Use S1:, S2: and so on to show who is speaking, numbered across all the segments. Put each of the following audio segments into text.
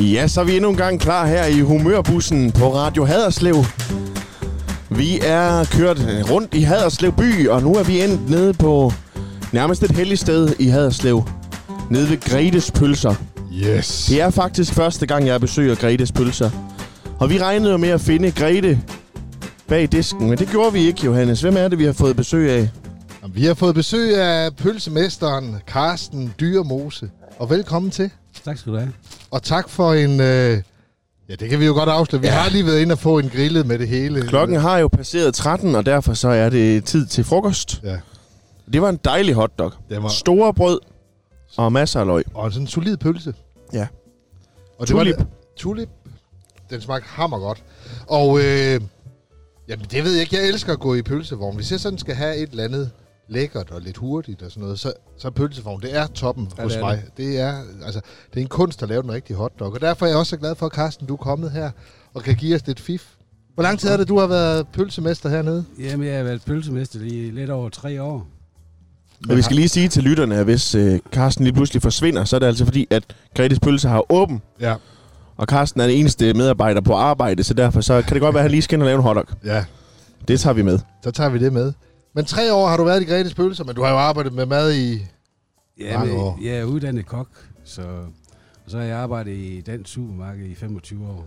S1: Ja, så er vi endnu en gang klar her i Humørbussen på Radio Haderslev. Vi er kørt rundt i Haderslev by, og nu er vi endt nede på nærmest et helligt sted i Haderslev. Nede ved Gretes Pølser.
S2: Yes.
S1: Det er faktisk første gang, jeg besøger Gretes Pølser. Og vi regnede jo med at finde Grete bag disken, men det gjorde vi ikke, Johannes. Hvem er det, vi har fået besøg af?
S2: Og Vi har fået besøg af pølsemesteren Karsten Dyremose. Og velkommen til.
S3: Tak skal du have.
S2: Og tak for en... Øh... Ja, det kan vi jo godt afsløre. Vi ja. har lige været inde og få en grillet med det hele.
S1: Klokken har jo passeret 13, og derfor så er det tid til frokost.
S2: Ja.
S1: Det var en dejlig hotdog.
S2: Det var,
S1: Store brød og masser af løg.
S2: og sådan en solid pølse.
S1: Ja.
S2: Og
S1: Tulip.
S2: Var, tulip. Den smagte hammer godt. Og øh... Jamen, det ved jeg ikke. Jeg elsker at gå i pølsevogn. Hvis jeg sådan skal have et eller andet lækkert og lidt hurtigt og sådan noget, så, så er pølsevogn, det er toppen ja, hos
S3: det er
S2: mig. Det. det er, altså, det er en kunst at lave den rigtige hotdog. Og derfor er jeg også så glad for, Carsten, du er kommet her og kan give os lidt fif. Hvor lang tid er det, du har været pølsemester hernede?
S3: Jamen, jeg har været pølsemester i lidt over tre år.
S1: Men vi skal lige sige til lytterne, at hvis øh, Carsten lige pludselig forsvinder, så er det altså fordi, at Gretes Pølse har åben,
S2: Ja,
S1: og Carsten er den eneste medarbejder på arbejde, så derfor så kan det godt være, at han lige skal ind og lave en hotdog.
S2: ja.
S1: Det tager vi med.
S2: Så tager vi det med. Men tre år har du været i Gretes Pølser, men du har jo arbejdet med mad i... Mange
S3: Jamen,
S2: år.
S3: jeg er uddannet kok, så, og så har jeg arbejdet i dansk supermarked i 25 år.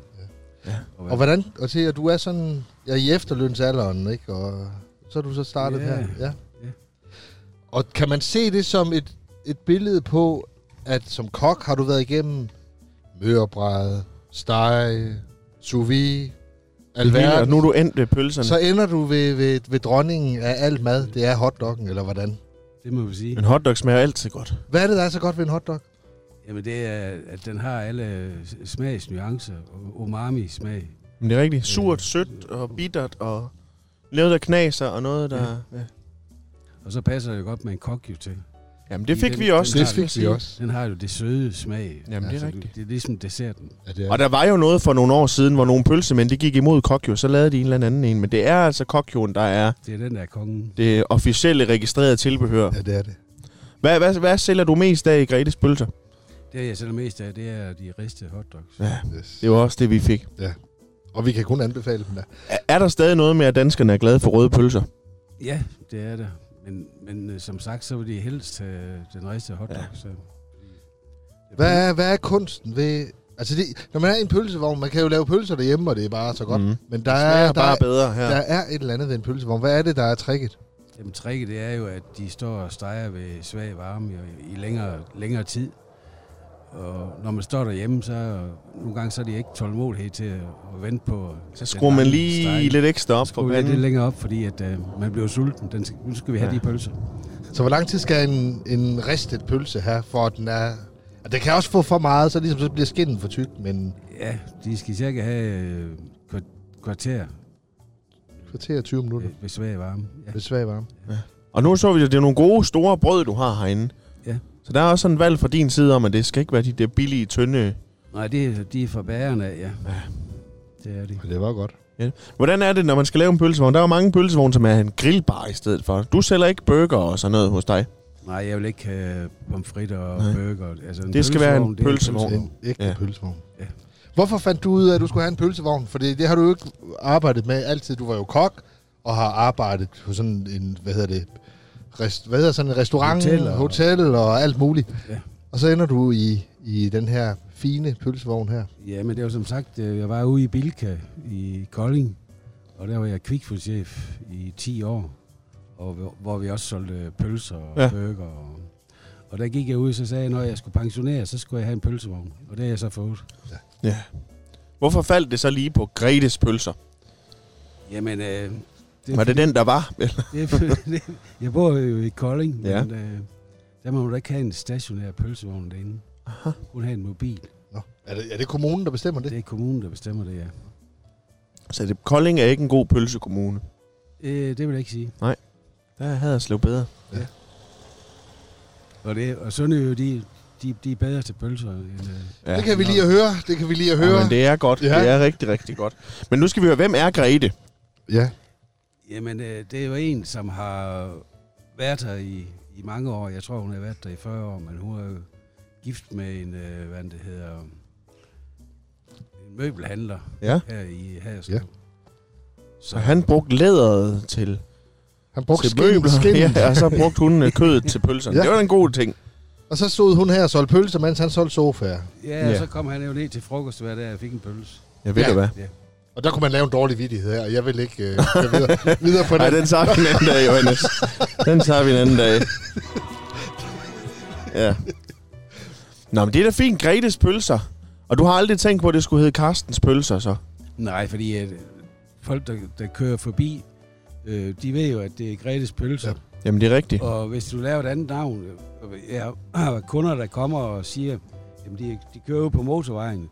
S2: Og hvordan... Og se, at du er sådan... Ja, i efterlønsalderen, ikke? Og så er du så startet
S3: Ja.
S2: her. Ja.
S3: Ja.
S2: Og kan man se det som et, et billede på, at som kok har du været igennem mørbræd, steg, sous vide,
S1: Alverden. Og nu
S2: alverden.
S1: er du endt ved pølserne.
S2: Så
S1: Så...
S2: ender du ved, ved, ved dronningen af alt mad.
S3: Mm.
S2: Det er hotdoggen, eller hvordan?
S3: Det må vi sige.
S1: En hotdog smager altid godt.
S2: Hvad er det, der er så godt ved en hotdog?
S3: Jamen, det er, at den har alle smagsnuancer. Umami-smag.
S1: Men det er rigtigt. Surt, sødt og bittert og noget, der knaser og noget, der... Ja.
S3: Og så passer det godt med en kok jo til.
S1: Jamen det
S3: Fordi
S1: fik
S3: den-
S1: vi også.
S3: den
S2: Det
S3: har-
S2: fik vi også.
S3: Den har jo det søde smag.
S1: Jamen det er
S3: du,
S1: rigtigt.
S3: det er ligesom desserten.
S2: Ja, det er
S1: Og der var jo noget for nogle år siden, hvor nogle pølsemænd, de gik imod kokjo, så lavede de en eller anden en. Men det er altså kokjoen, der er
S3: Det er den, der er kongen.
S1: det officielle registrerede tilbehør.
S2: Ja, det er det.
S1: Hvad, hvad, hvad sælger du mest af i Gretes pølser?
S3: Det, jeg sælger mest af, det er de ristede hotdogs.
S1: Ja,
S2: Yes.
S1: det var også det, vi fik.
S2: Og vi kan kun anbefale dem der.
S1: Er, er der stadig noget med, at danskerne er glade for røde pølser?
S3: Ja, det er det. Men, men øh, som sagt, så vil de helst have den ristede hotdog. Ja. Så.
S2: Hvad er, hvad er kunsten ved... Altså, det, når man er i en pølsevogn, man kan jo lave pølser derhjemme, og det er bare så godt. Mm.
S1: Mhm.
S2: Men der
S1: Det smager
S2: er, der,
S1: bare
S2: er,
S1: bedre her.
S2: der er et eller andet ved en pølsevogn. Hvad er det, der er tricket?
S3: Jamen, tricket det er jo, at de står og steger ved svag varme i, i længere, længere tid. Og når man står derhjemme, så nogle gange så er de ikke tålmodighed til at, at vente på...
S1: Så skruer man lige lidt ekstra op på
S3: på lidt
S1: panden.
S3: længere op, fordi at, øh, man bliver sulten. Den, skal- nu skal vi have
S1: Ja.
S3: ja. de pølser.
S2: Så hvor lang tid skal en, en ristet pølse her, for at den er... Og det kan også få for meget, så, ligesom, så bliver skinnen for tyk, men
S3: Ja, de skal cirka have øh, kva- kvarter
S2: kvarter og 20 minutter.
S3: øh, ved svag varme. Ja.
S2: Det er svag varme.
S1: Og nu så vi, at det er nogle gode, store brød, du har herinde.
S3: Ja.
S1: Så der er også sådan en valg fra din side om, at det skal ikke være de der billige, tynde...
S3: Nej, det, er- de er fra bagerne af, ja.
S1: Ja.
S3: Det er de.
S2: Og det var godt.
S1: Hvordan er det, når man skal lave en pølsevogn? Der er jo mange pølsevogne, som er en grillbar i stedet for. Du sælger ikke burger og sådan noget hos dig.
S3: Nej, jeg vil ikke have pomfritter og
S1: Nej.
S3: Nej. burger. Altså, en
S1: Det skal være en
S3: det er
S1: pølsevogn.
S2: Det er en ægte
S1: Ja.
S2: ja. pølsevogn.
S3: Ja.
S2: Hvorfor fandt du ud af, at du skulle have en pølsevogn? For det har du jo ikke arbejdet med altid. Du var jo kok og har arbejdet på sådan en, hvad hedder det, rest, hvad hedder sådan en restaurant,
S3: Hotel og-
S2: hotel og alt muligt.
S3: Ja.
S2: Og så ender du i, i den her fine pølsevogn her.
S3: Ja, men det var som sagt, øh, jeg var ude i Bilka i Kolding, og der var jeg kvikfoodchef i 10 år, og hvor- hvor vi også solgte pølser og
S1: Ja.
S3: ja. burger. Og, og der gik jeg ud, så sagde jeg, når jeg skulle pensionere, så skulle jeg have en pølsevogn, og det har jeg så fået.
S1: Ja. Hvorfor faldt det så lige på Gretes pølser?
S3: Jamen, øh,
S1: Det var det den, der var?
S3: det, det, jeg bor jo i Kolding,
S1: Ja.
S3: ja. men øh, der må man da ikke have en stationær pølsevogn derinde. Aha. Kun have en mobil.
S2: Nå. Er, det, er det kommunen, der bestemmer det?
S3: Det er kommunen, der bestemmer det, ja.
S1: Så det, Kolding er ikke en god pølsekommune.
S3: Øh, det vil jeg ikke sige.
S1: Der er Haderslev bedre.
S3: Og, det, og Sønderjø, de, de, de er bedre til pølser end... Øh,
S1: Ja.
S2: det kan vi lige at høre. Det kan vi lige at høre.
S1: men det er godt. Ja.
S2: Ja.
S1: Det er rigtig, rigtig godt. Men nu skal vi høre, hvem er Grete?
S2: Ja.
S3: Jamen, øh, det er jo en, som har været her i, i mange år. Jeg tror, hun har været der i 40 år, men hun er jo gift med en, øh, hvad det hedder, en møbelhandler
S1: Ja.
S3: her i Haderslev.
S2: Ja.
S1: Så han brugte læderet til,
S2: Han brugte
S1: til møbler,
S2: skin.
S1: ja, og så brugte hun øh, kødet til pølserne.
S2: Ja.
S1: Ja. Det var en god ting.
S2: Og så stod hun her og solgte pølser, mens han solgte sofaer.
S3: Ja, og
S1: Ja.
S3: så kom han jo ned til frokost hver dag og fik en pølse.
S1: Jeg ved
S2: Ja.
S1: ja. hvad.
S2: Og der kunne man lave en dårlig vidighed her, og jeg vil ikke øh, gå videre, videre på
S1: Nej,
S2: den.
S1: den tager vi en anden dag, Johannes. Den tager vi en anden dag. Ja. Nå, men det er da fint. Gretes pølser. Og du har aldrig tænkt på, at det skulle hedde Karstens pølser, så?
S3: Nej, fordi at folk, der, der kører forbi, øh, de ved jo, at det er Gretes pølser.
S1: Jamen, det er rigtigt.
S3: Og hvis du laver et andet navn, øh, og jeg har kunder, der kommer og siger, jamen de, de kører jo på motorvejen,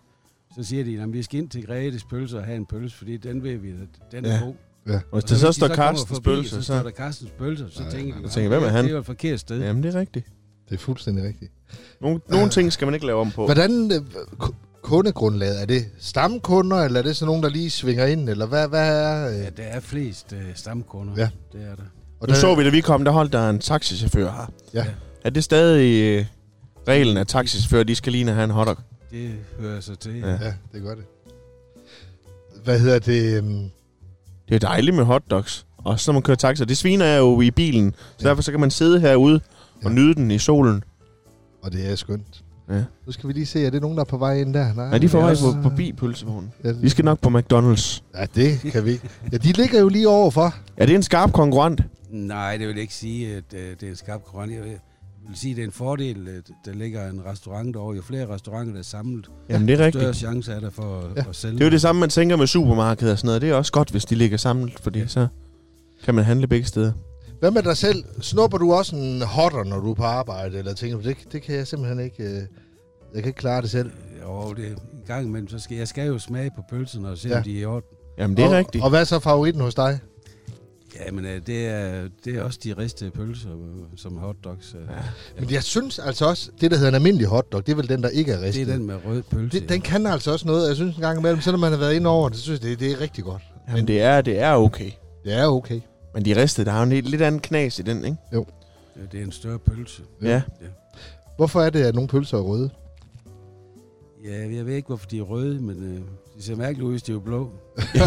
S3: så siger de, at vi skal ind til Gretes pølser og have en pølse, fordi den ved vi, at den er
S1: Ja.
S3: god.
S1: Og hvis
S3: Og
S1: der
S3: hvis
S1: så
S3: de
S1: står
S3: kommer
S1: Karstens
S3: forbi,
S1: pølser,
S3: Så står
S1: så...
S3: der Karstens pølser, så
S2: Nej,
S3: tænker
S2: nej,
S3: de,
S2: nej.
S1: Så tænker jeg, hvem er
S3: "Ah,
S1: han?"
S3: Det er jo et forkert sted.
S1: Jamen, det er rigtigt.
S2: Det er fuldstændig rigtigt.
S1: Nogle, nogle ting skal man ikke lave om på.
S2: Hvordan øh, ku- kundegrundlaget? Er det stamkunder, eller er det sådan nogen, der lige svinger ind? Eller hvad, hvad er... Øh,
S3: Ja, der er flest øh, stamkunder.
S2: Ja.
S3: Det er der.
S2: og
S1: Nu
S2: der,
S1: så vi, da vi kom, der holdt der en taxichauffør her.
S2: Ja.
S1: Er det stadig øh, reglen, at taxichauffører, de skal lige have en hotdog?
S3: Det hører sig til.
S1: Ja.
S2: Ja, det gør det. Hvad hedder det? øhm,
S1: Det er dejligt med hotdogs. Også når man kører taxa. Det sviner jeg jo i bilen. Så
S2: Ja.
S1: derfor så kan man sidde herude og
S2: Ja.
S1: nyde den i solen.
S2: Og det er skønt.
S1: Ja.
S2: Nu skal vi lige se, er det nogen, der er på vej ind der? Nej,
S1: Er de får
S3: det er
S1: vej
S3: også-
S1: på, forbi pølsevognen?
S2: Ja,
S1: Vi skal nok på McDonald's.
S2: ja, det kan vi ikke. Ja, de ligger jo lige overfor.
S1: Er det en skarp konkurrent?
S3: Nej, det vil jeg ikke sige, at øh, det er en skarp grøn. Jeg vil- jeg vil sige, at det er en fordel, at der ligger en restaurant derovre. Jo flere restauranter, der er samlet,
S1: Jamen, det er
S3: større
S1: rigtigt.
S3: chance er der for at,
S2: Ja.
S3: ja. at sælge.
S1: Det er jo det samme, man tænker med supermarkeder og sådan noget. Det er også godt, hvis de ligger samlet, fordi så kan man handle begge steder.
S2: Hvad med dig selv? Snupper du også en hotter, når du er på arbejde? Eller tænker du, det, det kan jeg simpelthen ikke... Øh, jeg kan ikke klare det selv.
S3: Jo, Øh, det er en gang imellem. Så skal, jeg skal jo smage på pølsen og se,
S2: Ja.
S3: ja. om de er i orden.
S1: Jamen, det er
S2: og,
S1: rigtigt.
S2: Og hvad er så favoritten hos dig?
S3: Jamen, øh, det er, det er også de ristede pølser, øh, som hotdogs. Ja.
S2: Men jeg synes altså også, det der hedder en almindelig hotdog, det er vel den, der ikke er
S3: Det
S2: ristet.
S3: er den med rød pølse.
S2: det, den kan altså også noget. Jeg synes en gang imellem, selvom man har været ind over det, så synes jeg, det, det er rigtig godt.
S1: Jamen, det er, det er okay.
S2: Det er okay.
S1: Men de ristede, der har jo en helt, lidt anden knas i den, ikke?
S3: ja. Det er en større pølse.
S2: Ja.
S1: Ja. ja.
S2: Hvorfor er det, at nogle pølser er røde?
S3: Ja, jeg ved ikke, hvorfor de er røde, men øh, de ser mærkeligt ud, hvis de er blå.
S1: det,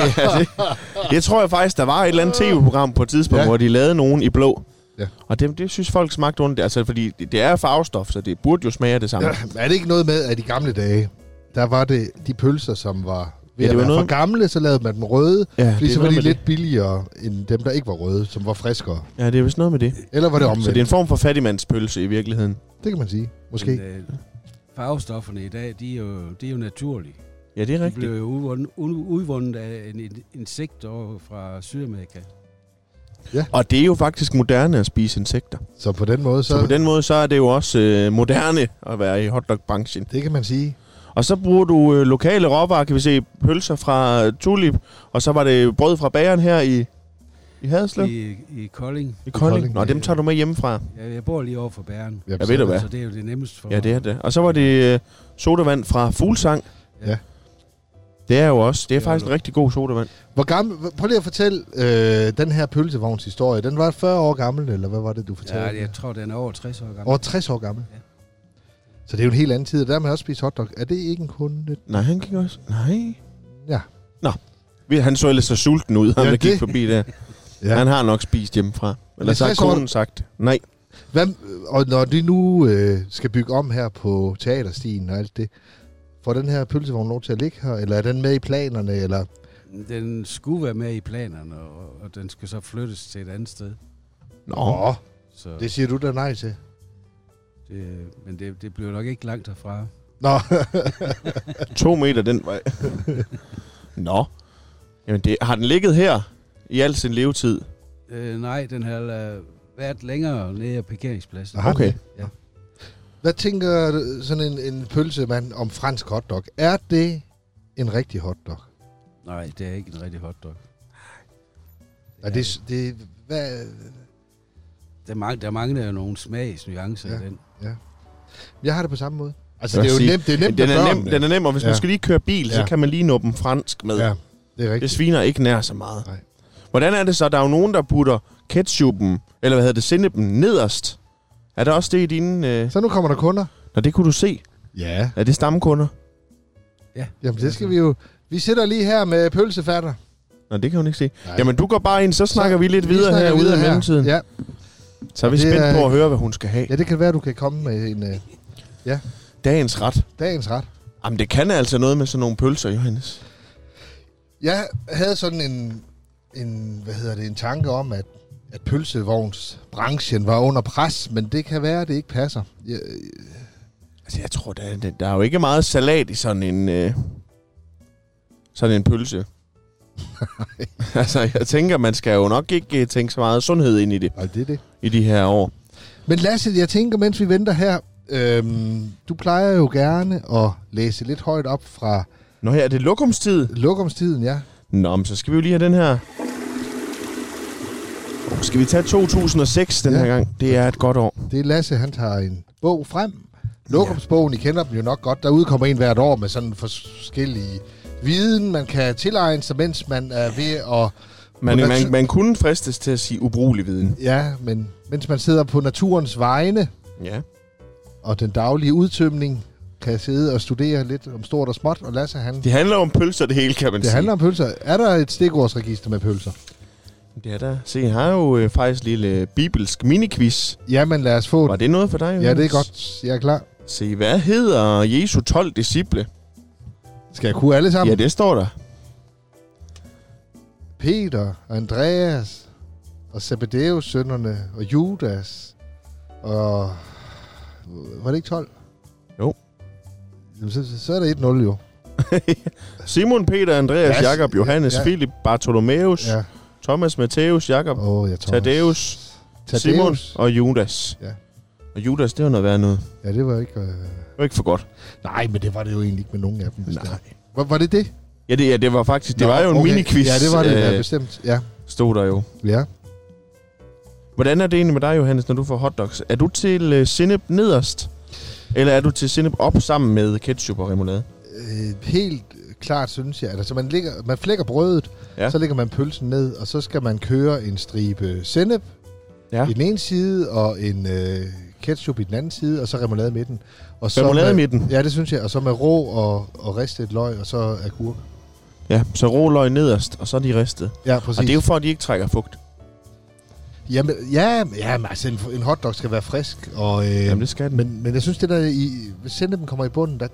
S1: det tror jeg faktisk, der var et eller andet tv-program på et tidspunkt,
S2: Ja.
S1: ja. hvor de lavede nogen i blå.
S2: Ja.
S1: Og det, det synes folk smagte ondt. Altså, fordi det, det er farvestof, så det burde jo smage af det samme.
S2: Ja,
S1: Ja.
S2: men er det ikke noget med, at i gamle dage, der var det de pølser, som var
S1: Ja,
S2: ved
S1: det
S2: ja, at
S1: var
S2: være
S1: noget-
S2: for gamle, så lavede man dem røde,
S1: Ja,
S2: fordi
S1: det
S2: så
S1: er
S2: var
S1: noget
S2: de
S1: med
S2: lidt billigere end dem, der ikke var røde, som var friskere.
S1: det. Ja, det er vist noget med det.
S2: Eller var det omvendt?
S1: Så det er en form for fattigmandspølse i virkeligheden.
S2: det kan man sige, måske.
S3: Men, øh, farvestofferne i dag, de er jo, de er jo naturlige.
S1: Ja, det er
S3: De
S1: rigtigt.
S3: blev jo udvundet, u- udvundet af en, en insekt over fra Sydamerika.
S1: Og det er jo faktisk moderne at spise insekter.
S2: Så på den måde,
S1: Så, så på den måde, så er det jo også øh, moderne at være i hotdogbranchen.
S2: det kan man sige.
S1: Og så bruger du øh, lokale råvarer, kan vi se pølser fra øh, Tulip, og så var det brød fra bageren her i, i Haderslev. I,
S3: I, I Kolding.
S1: I Kolding.
S2: Kolding.
S1: Nå, dem tager du med hjemmefra.
S3: Jeg, jeg bor lige over for Bæren.
S1: Jeg
S2: Jamen,
S1: ved
S2: så-
S1: du hvad.
S3: Så det er jo det nemmeste for
S1: Ja, det er det. Og så var det øh, sodavand fra Fuglsang.
S2: Ja.
S1: Det er jo også. Det er
S3: Det er
S1: faktisk
S3: det.
S1: en rigtig god sodavand.
S2: Hvor gammel, prøv lige at fortælle øh, den her pølsevogns historie. Den var 40 år gammel, eller hvad var det, du fortalte?
S3: Ja, jeg tror, den er over 60 år gammel.
S2: Over 60 år gammel. Ja.
S3: Ja.
S2: Så det er jo en helt anden tid, og der har man også spist hotdog. Er det ikke en kunde?
S1: Nej, han gik også. Nej.
S2: Ja.
S1: Nå. Vi- Han så ellers så sulten ud, ham
S2: Ja,
S1: der gik
S2: det-
S1: forbi der. ja. Han har nok spist hjemmefra. Eller
S2: Men
S1: så har
S2: 60 år-
S1: konen sagt nej.
S2: Hvad, og når de nu øh, skal bygge om her på teaterstien og alt det, får den her pølsevogn lov til at ligge her, eller er den med i planerne, eller
S3: Den skulle være med i planerne, og, og den skal så flyttes til et andet sted.
S1: Nå.
S3: Så
S2: det siger du da nej til?
S3: det, men det, det bliver nok ikke langt herfra.
S2: Nå,
S1: To meter den vej. Nå. Jamen, det, har den ligget her i al sin levetid?
S3: Øh, nej, den har øh, været længere nede af parkeringspladsen.
S2: Aha. Har den
S1: Okay.
S2: hvad tænker sådan en, en pølsemand om fransk hotdog? Er det en rigtig hotdog?
S3: Nej, det er ikke en rigtig hotdog.
S2: Er det, det, hvad,
S3: Der, mang, der mangler jo nogle smagsnuancer
S2: Ja.
S3: ja. i den.
S2: jeg har det på samme måde. Altså,
S1: Jeg
S2: det er jo
S1: vil sige,
S2: nemt, det er nemt
S1: den,
S2: med
S1: er nem,
S2: børnene.
S1: den er nem, og hvis
S2: Ja.
S1: man skal lige køre bil,
S2: Ja.
S1: så kan man lige nå dem fransk med.
S2: Ja, det er
S1: Det
S2: rigtigt.
S1: sviner ikke nær så meget.
S2: Nej.
S1: Hvordan er det så? Der er jo nogen, der putter ketchupen, eller hvad hedder det, sennepen nederst. Er der også det i dine... Øh...
S2: Så nu kommer der kunder.
S1: Nå, det kunne du se.
S2: Ja.
S1: Er det stamkunder?
S3: Ja.
S2: Jamen, det skal vi jo... Vi sidder lige her med pølsefatter.
S1: Nå, det kan hun ikke se.
S2: Nej.
S1: Jamen, du går bare ind, så snakker så, vi lidt
S2: Vi
S1: videre
S2: snakker
S1: herude i
S2: her.
S1: mellemtiden. Ja.
S2: Ja.
S1: Så er vi
S2: Det
S1: spændt
S2: er-
S1: på at høre, hvad hun skal have.
S2: ja, det kan være, du kan komme med en øh,
S1: Dagens ret.
S2: dagens ret.
S1: Jamen, det kan altså noget med sådan nogle pølser, Johannes.
S2: Jeg havde sådan en, en, hvad hedder det, en tanke om, at, at pølsevognsbranchen var under pres, men det kan være, at det ikke passer. øh, Jeg,
S1: Altså, jeg tror, der, der, der er jo ikke meget salat i sådan en... Øh, sådan en pølse. altså, jeg tænker, man skal jo nok ikke øh, tænke så meget sundhed ind i det,
S2: nej, det er det.
S1: i de her år.
S2: Men Lasse, jeg tænker, mens vi venter her, øhm, du plejer jo gerne at læse lidt højt op fra
S1: Nå her er det lokumstid.
S2: lokumstiden, ja.
S1: Nå, men så skal vi jo lige have den her. Skal vi tage 2006 den
S2: Ja.
S1: her gang? Det er et godt år.
S2: Det er Lasse, han tager en bog frem. Lokumsbogen, I kender dem jo nok godt. Der udkommer en hvert år med sådan forskellige viden, man kan tilegne sig, mens man er ved at
S1: Man,
S2: Hvordan
S1: man,
S2: sy-
S1: man kunne fristes til at sige ubrugelig viden.
S2: Ja, men mens man sidder på naturens vegne,
S1: Ja.
S2: og den daglige udtømning, kan jeg sidde og studere lidt om stort og småt, og Lasse han... Det,
S1: Det handler om pølser, det hele, kan man
S2: det
S1: sige.
S2: handler om pølser. Er der et stikordsregister med pølser?
S1: Det er der. Se, jeg har jo øh, faktisk en lille bibelsk miniquiz.
S2: Jamen lad os få
S1: Var
S2: det.
S1: det noget for dig?
S2: Ja,
S1: Jonas?
S2: det er godt. Jeg er klar.
S1: Se, hvad hedder Jesu 12 disciple?
S2: Skal jeg kunne alle sammen?
S1: Ja, det står der.
S2: Peter, og Andreas, og Zebedeus sønnerne, og Judas, og... Var det ikke 12?
S1: Jo.
S2: Jamen, så, så er der 1-0 jo.
S1: Simon, Peter, Andreas,
S2: Ja,
S1: ja, Jakob, Johannes,
S2: ja.
S1: ja. Philip, Bartholomeus, ja.
S2: Ja.
S1: Thomas, Matthæus, Jakob,
S2: Åh, oh, jeg tror...
S1: Thaddeus,
S2: Thaddeus.
S1: Simon og Judas.
S2: Ja.
S1: Og Judas, det var noget værd noget.
S2: Ja, det var ikke... Øh...
S1: Det var ikke for godt.
S2: Nej, men det var det jo egentlig ikke med nogen af dem. hvis det er.
S1: Nej.
S2: Var, var det det?
S1: Ja, det, ja, det var faktisk... Det Nå, var jo en okay. mini-quiz,
S2: Ja, det var det, ja,
S1: øh,
S2: bestemt. Ja.
S1: stod der jo.
S2: ja.
S1: Hvordan er det egentlig med dig, Johannes, når du får hotdogs? Er du til øh, sinep nederst? Eller er du til sinep op sammen med ketchup og remoulade?
S2: Øh, helt klart synes jeg, at altså, man, ligger, man flækker brødet, ja.
S1: Ja.
S2: så lægger man pølsen ned, og så skal man køre en stribe sennep ja.
S1: Ja.
S2: i den ene side, og en øh, ketchup i den anden side, og så remoulade i midten. Og så
S1: Remoulade i
S2: med,
S1: midten.
S2: Ja, det synes jeg. Og så med rå og, og ristet løg, og så agurk.
S1: Ja, så rå løg nederst, og så er de ristet.
S2: Ja,
S1: Præcis.
S2: præcis.
S1: Og det er jo for, at de ikke trækker fugt.
S2: Jamen, ja, jamen, altså, en, en hotdog skal være frisk, og... Øh,
S1: Jamen, det skal den.
S2: men, men jeg synes, det der i... Hvis sennepen kommer i bunden, der...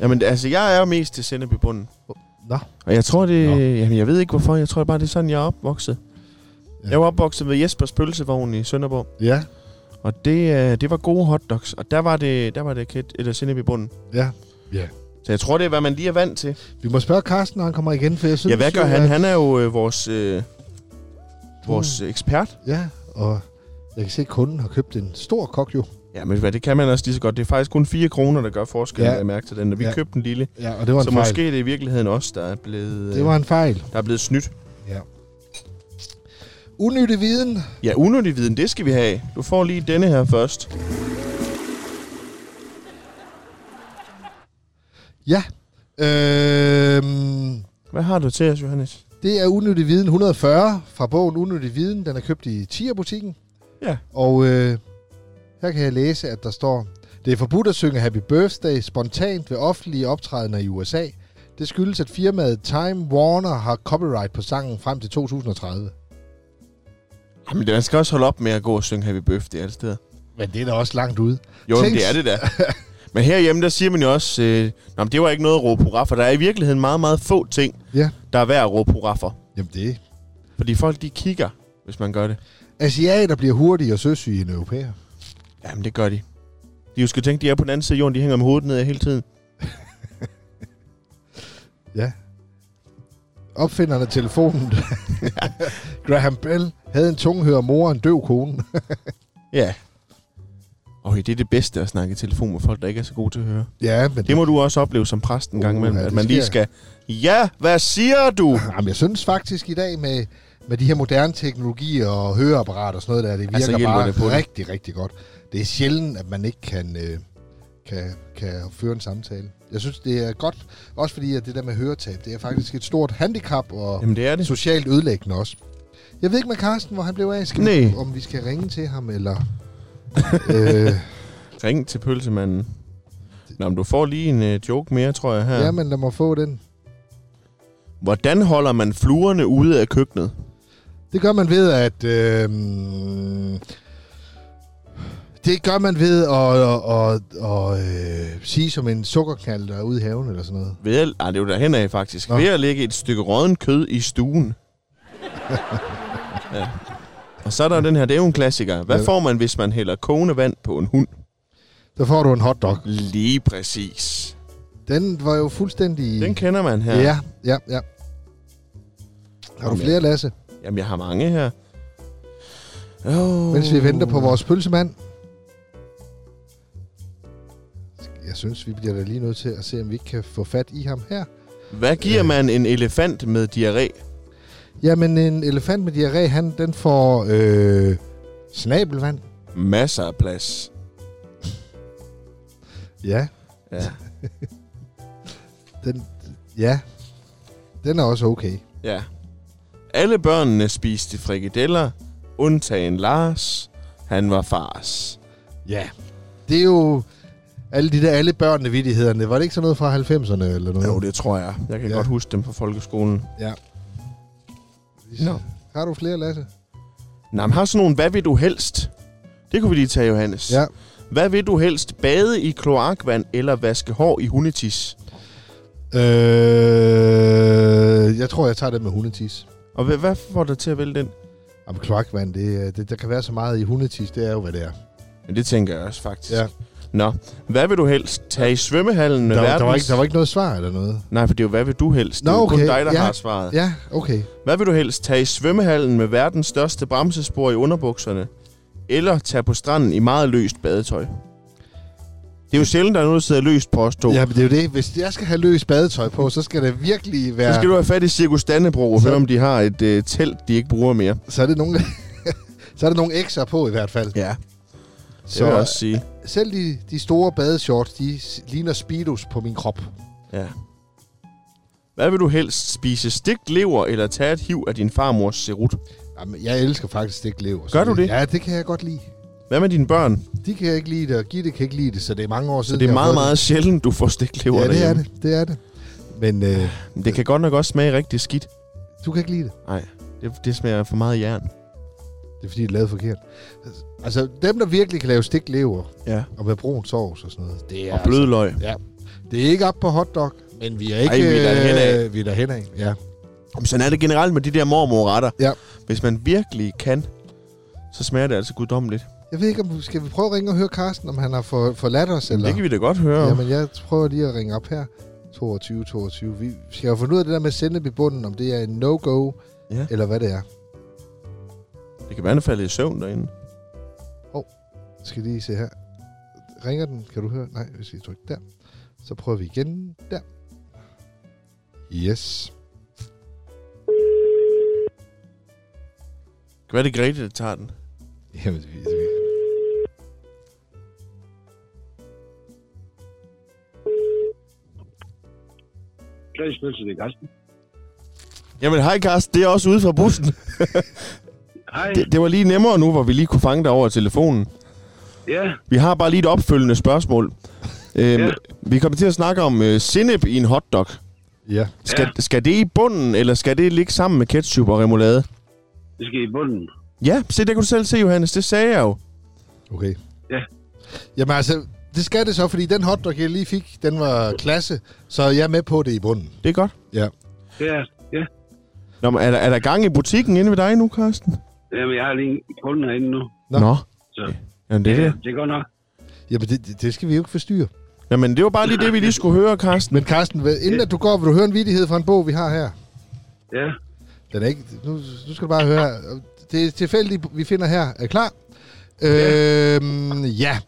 S1: Jamen, altså, jeg er jo mest til sinep i bunden.
S2: Nå.
S1: Og jeg tror, det...
S2: Nå.
S1: Jamen, jeg ved ikke, hvorfor. Jeg tror bare, det er sådan, jeg er opvokset.
S2: Ja.
S1: Ja. Jeg var opvokset ved Jespers Pølsevogn i Sønderborg.
S2: Ja,
S1: Og det, øh, det var gode hotdogs. Og der var det, der var det kæt, eller sinep i bunden.
S2: ja.
S1: Så jeg tror, det er, hvad man lige er vant til.
S2: Vi må spørge Carsten, når han kommer igen, for jeg synes...
S1: Ja, hvad gør
S2: jo,
S1: han?
S2: at-
S1: Han er jo øh, vores, øh, vores øh, ekspert.
S2: Ja, og jeg kan se, at kunden har købt en stor kok jo.
S1: Ja, men hvad, det kan man også lige så godt. Det er faktisk kun 4 kroner, der gør forskel,
S2: Ja.
S1: ja. jeg mærke til den. Og vi
S2: Ja.
S1: ja. købte den lille.
S2: Ja, og det var en
S1: Så
S2: fejl.
S1: måske er det i virkeligheden os, der er blevet,
S2: Det var en fejl.
S1: øh, der er blevet snydt.
S2: Unyttig viden.
S1: Ja, unødig viden, det skal vi have. Du får lige denne her først.
S2: Ja. Øhm,
S1: Hvad har du til os, Johannes?
S2: det er Unyttig viden 140 fra bogen Unyttig viden. Den er købt i Tia-butikken.
S1: Ja.
S2: Og øh, her kan jeg læse, at der står... Det er forbudt at synge Happy Birthday spontant ved offentlige optrædener i USA. Det skyldes, at firmaet Time Warner har copyright på sangen frem til 2030.
S1: Jamen, det- man skal også holde op med at gå og synge Happy Birthday alle steder.
S2: Men det er da også langt ude.
S1: Jo,
S2: Tænk-
S1: jamen, det er det da. Men herhjemme, der siger man jo også, øh, Nå, men det var ikke noget at råbe hurra, for der er i virkeligheden meget, meget få ting,
S2: Ja.
S1: der er værd at råbe hurra for.
S2: Jamen det
S1: Fordi folk, de kigger, hvis man gør det.
S2: Asiater bliver hurtigere søsyge end europæer.
S1: Jamen, det gør de. De jo skal tænke, de er på den anden side af jorden, de hænger med hovedet ned hele tiden.
S2: Ja. Opfinderen af telefonen, Graham Bell, havde en tunghører mor og en døv kone.
S1: Ja. Og det er det bedste at snakke i telefon med folk, der ikke er så gode til at høre.
S2: ja, men det,
S1: Det må du også opleve som præst en gang
S2: Uh,
S1: imellem,
S2: ja,
S1: at
S2: det
S1: man lige
S2: sker.
S1: skal... Ja, hvad siger du?
S2: Jamen, jeg synes faktisk i dag med, med de her moderne teknologier og høreapparater og sådan noget der, det virker
S1: Altså, hjælper
S2: bare
S1: det på det?
S2: rigtig, rigtig godt. Det er sjældent, at man ikke kan, øh, kan, kan føre en samtale. Jeg synes, det er godt, også fordi at det der med høretab, det er faktisk et stort handicap, og
S1: Jamen, det er det.
S2: socialt ødelæggende også. Jeg ved ikke med Carsten, hvor han blev af. Skal
S1: Nej.
S2: vi, om vi skal ringe til ham, eller... øh,
S1: Ring til pølsemanden. Nå, men du får lige en øh, joke mere, tror jeg her.
S2: Ja. Jamen, lad mig få den.
S1: Hvordan holder man fluerne ude af køkkenet?
S2: Det gør man ved at... Øh, det gør man ved at, at, at, at, øh, sige som en sukkerknald, der er ude i haven eller sådan noget.
S1: Ved at, ah, det er jo derhen af faktisk.
S2: Nå.
S1: Nå. Ved at lægge et stykke rådden kød i stuen. ja. Og så er der jo den her, det er jo en klassiker. Hvad
S2: Ja.
S1: får man, hvis man hælder kogende vand på en hund?
S2: Der får du en hotdog.
S1: Lige præcis.
S2: Den var jo fuldstændig...
S1: Den kender man her.
S2: ja. ja, ja, ja. Har du
S1: Jamen,
S2: flere, Lasse?
S1: Jamen, jeg har mange her. Oh.
S2: Mens vi venter på vores pølsemand. Jeg synes, vi bliver da lige nødt til at se, om vi ikke kan få fat i ham her.
S1: Hvad giver man en elefant med diarré?
S2: Jamen, en elefant med diarré, han, den får øh, snabelvand.
S1: Masser af plads.
S2: Ja,
S1: Ja.
S2: den, ja. Den er også okay.
S1: ja. Alle børnene spiste frikadeller, undtagen Lars. Han var fars.
S2: Ja. Det er jo alle de der alle børnene vittighederne. Var det ikke sådan noget fra 90'erne eller noget?
S1: Jo, det tror jeg. Jeg kan
S2: Ja.
S1: ja. godt huske dem fra folkeskolen. Nå.
S2: Har du flere, Lasse?
S1: Nå, men har sådan nogle, hvad vil du helst? Det kunne vi lige tage, Johannes.
S2: Ja.
S1: Hvad vil du helst? Bade i kloakvand eller vaske hår i hundetis?
S2: Øh, jeg tror, jeg tager det med hundetis.
S1: Og hvad, hvad får dig til at vælge den?
S2: Jamen, kloakvand, det, er- det, der kan være så meget i hundetis, det er jo, hvad det er.
S1: Men det tænker jeg også, faktisk.
S2: Ja.
S1: Nå, hvad vil du helst? Tage i svømmehallen med
S2: Der,
S1: verdens...
S2: der, var ikke, der var ikke noget svar eller noget.
S1: Nej, for det er jo, hvad vil du helst?
S2: Nå,
S1: det er jo kun
S2: okay.
S1: dig, der
S2: Ja.
S1: har svaret.
S2: Ja, okay.
S1: Hvad vil du helst? Tage i svømmehallen med verdens største bremsespor i underbukserne? Eller tage på stranden i meget løst badetøj? Det er jo sjældent, der er noget, der sidder løst på os to.
S2: Ja, men det er jo det. Hvis jeg skal have løs badetøj på, så skal det virkelig være...
S1: Så skal du have fat i Cirkus Dannebro og
S2: Så-
S1: høre, om de har et øh, telt, de ikke bruger mere.
S2: Så er det nogle... så er der nogle ekser på i hvert fald.
S1: Ja, det
S2: Så
S1: vil jeg også sige.
S2: selv de, de store badeshorts, de s- ligner speedos på min krop.
S1: Ja. Hvad vil du helst? Spise stegt lever eller tage et hiv af din farmors serut?
S2: Jamen, jeg elsker faktisk ikke lever. så
S1: Gør du det?
S2: Ja, det kan jeg godt lide.
S1: Hvad med dine børn?
S2: De kan jeg ikke lide det, og Gitte kan ikke lide det, så det er mange år
S1: Så
S2: siden.
S1: det er
S2: jeg har
S1: meget,
S2: fået
S1: meget sjældent, du får stegt lever
S2: Ja, det er
S1: derhjemme.
S2: det. Det er det. Men øh,
S1: Men Det kan godt nok også smage rigtig skidt.
S2: du kan ikke lide det.
S1: Nej, det, det smager for meget jern.
S2: Det er fordi, det er lavet forkert. Altså, dem, der virkelig kan lave stegt lever,
S1: Ja.
S2: og med brun sovs og sådan noget, det er,
S1: Og blødløg.
S2: altså, det er ikke op på hotdog, men vi er ikke...
S1: Ej, vi er der henad.
S2: øh, vi er der henad. Ja.
S1: Jamen, Sådan er det generelt med de der mormorretter.
S2: Ja.
S1: Hvis man virkelig kan, så smager det altså guddommeligt.
S2: Jeg ved ikke, om skal vi prøve at ringe og høre Carsten, om han har for, forladt os? Eller?
S1: Det kan vi da godt høre. Jamen.
S2: Jamen, jeg prøver lige at ringe op her. 22, 22. Vi skal jo finde ud af det der med sende i bunden, om det er en no-go,
S1: Ja.
S2: eller hvad det er.
S1: Det kan være, han er faldet i søvn derinde.
S2: Skal lige se her. Ringer den? Kan du høre? Nej, hvis vi trykker der. Så prøver vi igen der. Yes.
S1: Det kan være, det er Grete, der tager den.
S2: Jamen, vi, vi.
S4: Klassisk pølse, det er Karsten.
S1: Jamen, hej Karsten, det er også ude fra bussen.
S4: Hej.
S1: Det, det var lige nemmere nu, hvor vi lige kunne fange dig over telefonen.
S4: Ja,
S1: Vi har bare lige et opfølgende spørgsmål. Øhm,
S4: Ja.
S1: Vi kommer til at snakke om øh, sennep i en hotdog.
S2: Ja.
S1: Skal,
S4: Ja.
S1: ja. skal det i bunden, eller skal det ligge sammen med ketchup og remoulade?
S4: det skal i bunden.
S1: Ja, se, det kan du selv se, Johannes. Det sagde jeg jo.
S2: Okay.
S4: Ja.
S2: Jamen altså, det skal det så, fordi den hotdog, jeg lige fik, den var klasse, så jeg er med på det i bunden.
S1: Det er godt.
S2: Ja.
S4: Ja, ja.
S1: Nå, men er, der, er der gang i butikken inde ved dig nu, Karsten?
S4: Jamen, jeg har lige en kunde herinde nu.
S2: Nå.
S4: Så.
S1: Jamen, det er det.
S4: det går nok.
S2: Jamen, det, det- det skal vi jo ikke forstyrre.
S1: Jamen, det var bare lige det, vi lige skulle høre, Karsten.
S2: Men Carsten, hvad- inden at du går, vil du høre en vidighed fra en bog, vi har her?
S4: Ja,
S2: Den er ikke... Nu, nu skal du bare høre. her. Det er tilfældigt, vi finder her. Er I klar? Ja. Øhm, ja.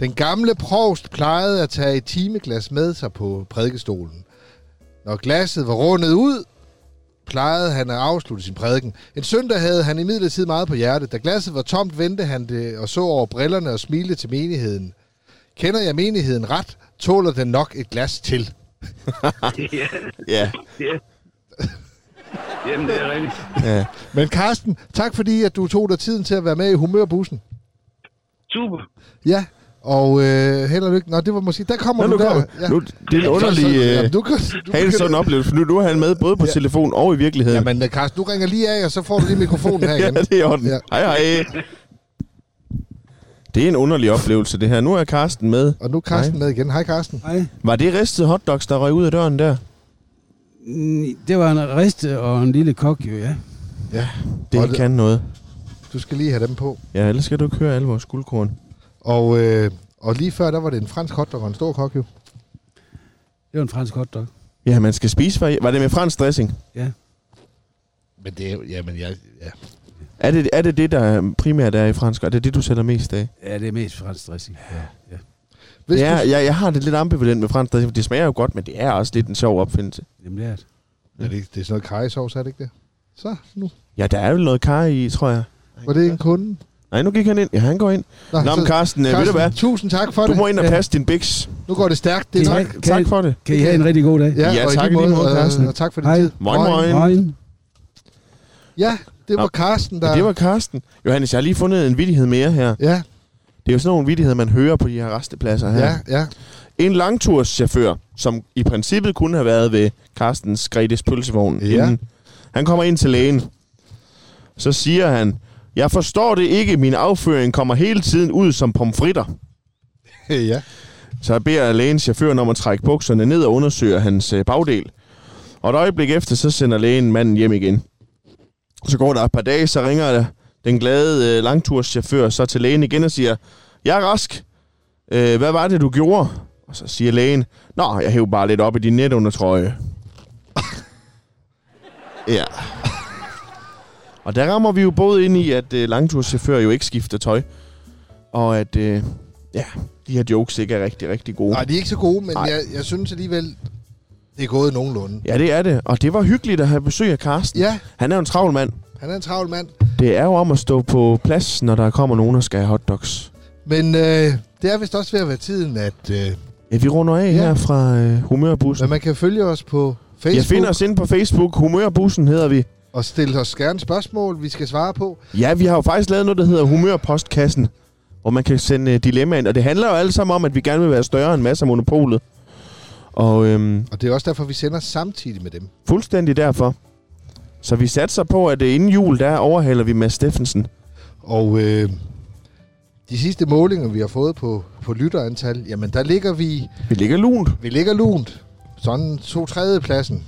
S2: Den gamle provst plejede at tage et timeglas med sig på prædikestolen. Når glasset var rundet ud, plejede han at afslutte sin prædiken. En søndag havde han imidlertid meget på hjertet. Da glasset var tomt, vendte han det og så over brillerne og smilte til menigheden. Kender jeg menigheden ret, tåler den nok et glas til.
S4: ja,
S1: Ja.
S4: ja. Jamen, det er rigtigt.
S1: ja.
S2: Men Karsten, tak fordi at du tog dig tiden til at være med i humørbussen.
S4: Super.
S2: Ja, Og øh, held og lykke. Nå, det var måske... Der
S1: Nå,
S2: kommer du
S1: nu
S2: der.
S1: kommer
S2: Ja.
S1: nu, det er en underlig
S2: Ja,
S1: øh,
S2: du kan, du kan,
S1: halsund oplevelse, for nu, nu er han med både på
S2: Ja.
S1: telefon og i virkeligheden.
S2: Jamen, øh, Carsten, du ringer lige af, og så får du lige mikrofonen her
S1: Ja,
S2: igen.
S1: det er i orden.
S2: Ja.
S1: Hej, hej. Det er en underlig oplevelse, det her. Nu er Karsten med.
S2: Og nu er Carsten med igen. Hej, Carsten.
S3: Nej,
S1: Var det ristede hotdogs, der røg ud af døren der?
S3: Mm, det var en riste og en lille kok jo, ja.
S2: Ja,
S1: Det
S2: Og
S1: Hold. kan noget.
S2: du skal lige have dem på.
S1: Ja, ellers skal du køre alle vores guldkorn.
S2: Og, øh, og lige før, der var det en fransk hotdog og en stor kok, jo.
S3: Det var en fransk hotdog.
S1: Ja, man skal spise var, var det med fransk dressing?
S3: Ja.
S2: Men det er jo... Jamen, jeg... Ja.
S1: Er det, er det det, der primært er i fransk, og er det det, du sælger mest af?
S3: ja, det er mest fransk dressing. Ja. Ja.
S2: Hvis
S1: ja,
S2: du,
S1: jeg, jeg har det lidt ambivalent med fransk dressing, for det smager jo godt, men det er også lidt en sjov opfindelse.
S3: Jamen, det er det.
S2: er det, ikke- det er sådan noget karrysovs, er det ikke det? Så, nu.
S1: Ja, der er jo noget kar i, tror jeg.
S2: Var det ikke en kunde?
S1: Nej, nu gik han ind. Ja, han går ind.
S2: Ah,
S1: Nå, men Karsten, øh, ved du hvad?
S2: Tusind tak for
S1: Du
S2: det.
S1: må ind og
S3: Ja.
S1: passe din biks.
S2: Nu går det stærkt. Det er
S3: Tak.
S2: tak.
S3: Kan
S1: Tak
S3: jeg-
S1: for det.
S3: Kan I have en rigtig god dag?
S1: Ja,
S2: og i
S1: tak i lige måde,
S2: øh,
S1: Carsten.
S2: Og tak for din
S3: Hej.
S2: tid.
S1: Moin,
S2: Hej.
S1: moin.
S3: Moin.
S2: Ja, det var
S1: Nå.
S2: Carsten, der...
S1: Ja, det var Karsten. Johannes, jeg har lige fundet en vittighed mere her.
S2: Ja,
S1: Det er jo sådan nogle vittigheder, man hører på de her restepladser her.
S2: ja, ja.
S1: En langturschauffør, som i princippet kunne have været ved Carstens Gretes pølsevogn.
S2: Ja.
S1: inden. Han kommer ind til lægen. Så siger han, jeg forstår det ikke, min afføring kommer hele tiden ud som pomfritter.
S2: ja.
S1: Så beder lægen chaufføren om at trække bukserne ned og undersøger hans øh, bagdel. Og et øjeblik efter, så sender lægen manden hjem igen. Så går der et par dage, så ringer der den glade øh, langturschauffør så til lægen igen og siger, jeg er rask. Øh, hvad var det, du gjorde? Og så siger lægen, Nå, jeg hæv bare lidt op i din netundertrøje. ja. Og der rammer vi jo både ind i, at øh, langturschauffører jo ikke skifter tøj. Og at, øh, ja, de her jokes ikke er rigtig, rigtig gode.
S2: Nej, de er ikke så gode, men
S1: Nej.
S2: jeg, jeg synes alligevel, det er gået nogenlunde.
S1: Ja, det er det. Og det var hyggeligt at have besøg af Karsten.
S2: Ja,
S1: Han er jo en travl mand.
S2: han er en travl mand.
S1: Det er jo om at stå på plads, når der kommer nogen og skal have hotdogs.
S2: Men øh, det er vist også ved at være tiden, at øh,
S1: Ja, vi runder af ja.
S2: Ja.
S1: her fra øh, Humørbussen.
S2: men man kan følge os på Facebook
S1: Jeg finder os inde på Facebook. Humørbussen hedder vi.
S2: og stille os gerne spørgsmål, vi skal svare på.
S1: Ja, vi har jo faktisk lavet noget, der hedder Humørpostkassen, hvor man kan sende øh, dilemmaer ind. Og det handler jo alle sammen om, at vi gerne vil være større end masser af monopolet. Og øhm,
S2: Og det er også derfor, vi sender samtidig med dem.
S1: fuldstændig derfor. Så vi satser på, at øh, inden jul, der overhaler vi Mads Steffensen.
S2: Og øh, de sidste målinger, vi har fået på, på lytterantal, jamen der ligger vi,
S1: Vi ligger lunt.
S2: vi ligger lunt. Sådan to tredje pladsen.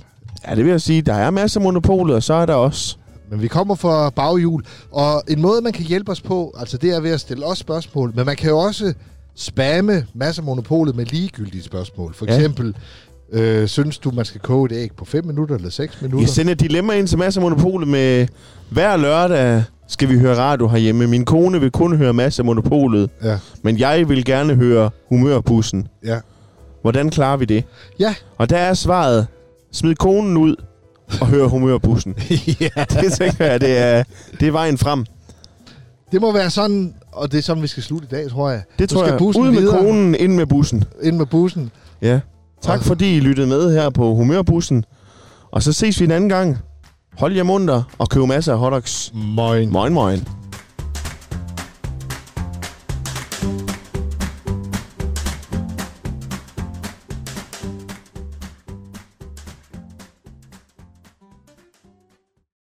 S1: Ja, det vil jeg sige. Der er masser af monopolet, og så er der også...
S2: Men vi kommer fra baghjul. Og en måde, man kan hjælpe os på, altså det er ved at stille os spørgsmål, men man kan jo også spamme masser af monopolet med ligegyldige spørgsmål. For
S1: Ja.
S2: eksempel, øh, synes du, man skal koge et æg på 5 minutter eller 6
S1: Jeg
S2: minutter?
S1: sender dilemma ind til Mads og Monopolet med... Hver lørdag skal vi høre radio herhjemme. Min kone vil kun høre Mads og Monopolet,
S2: Ja,
S1: men jeg vil gerne høre humørbussen.
S2: ja.
S1: Hvordan klarer vi det?
S2: Ja,
S1: Og der er svaret, smid konen ud og hør humørbussen. ja. Det tænker jeg, det er, det er vejen frem.
S2: det må være sådan, og det er sådan, vi skal slutte i dag, tror jeg.
S1: Det
S2: Nu
S1: tror
S2: skal
S1: jeg.
S2: bussen
S1: Ud med
S2: videre.
S1: konen, ind med bussen.
S2: Ind med bussen.
S1: Ja. Tak
S2: Og-
S1: fordi I lyttede med her på humørbussen. Og så ses vi en anden gang. Hold jer munter og køb masser af hotdogs.
S2: Moin.
S1: Moin, moin.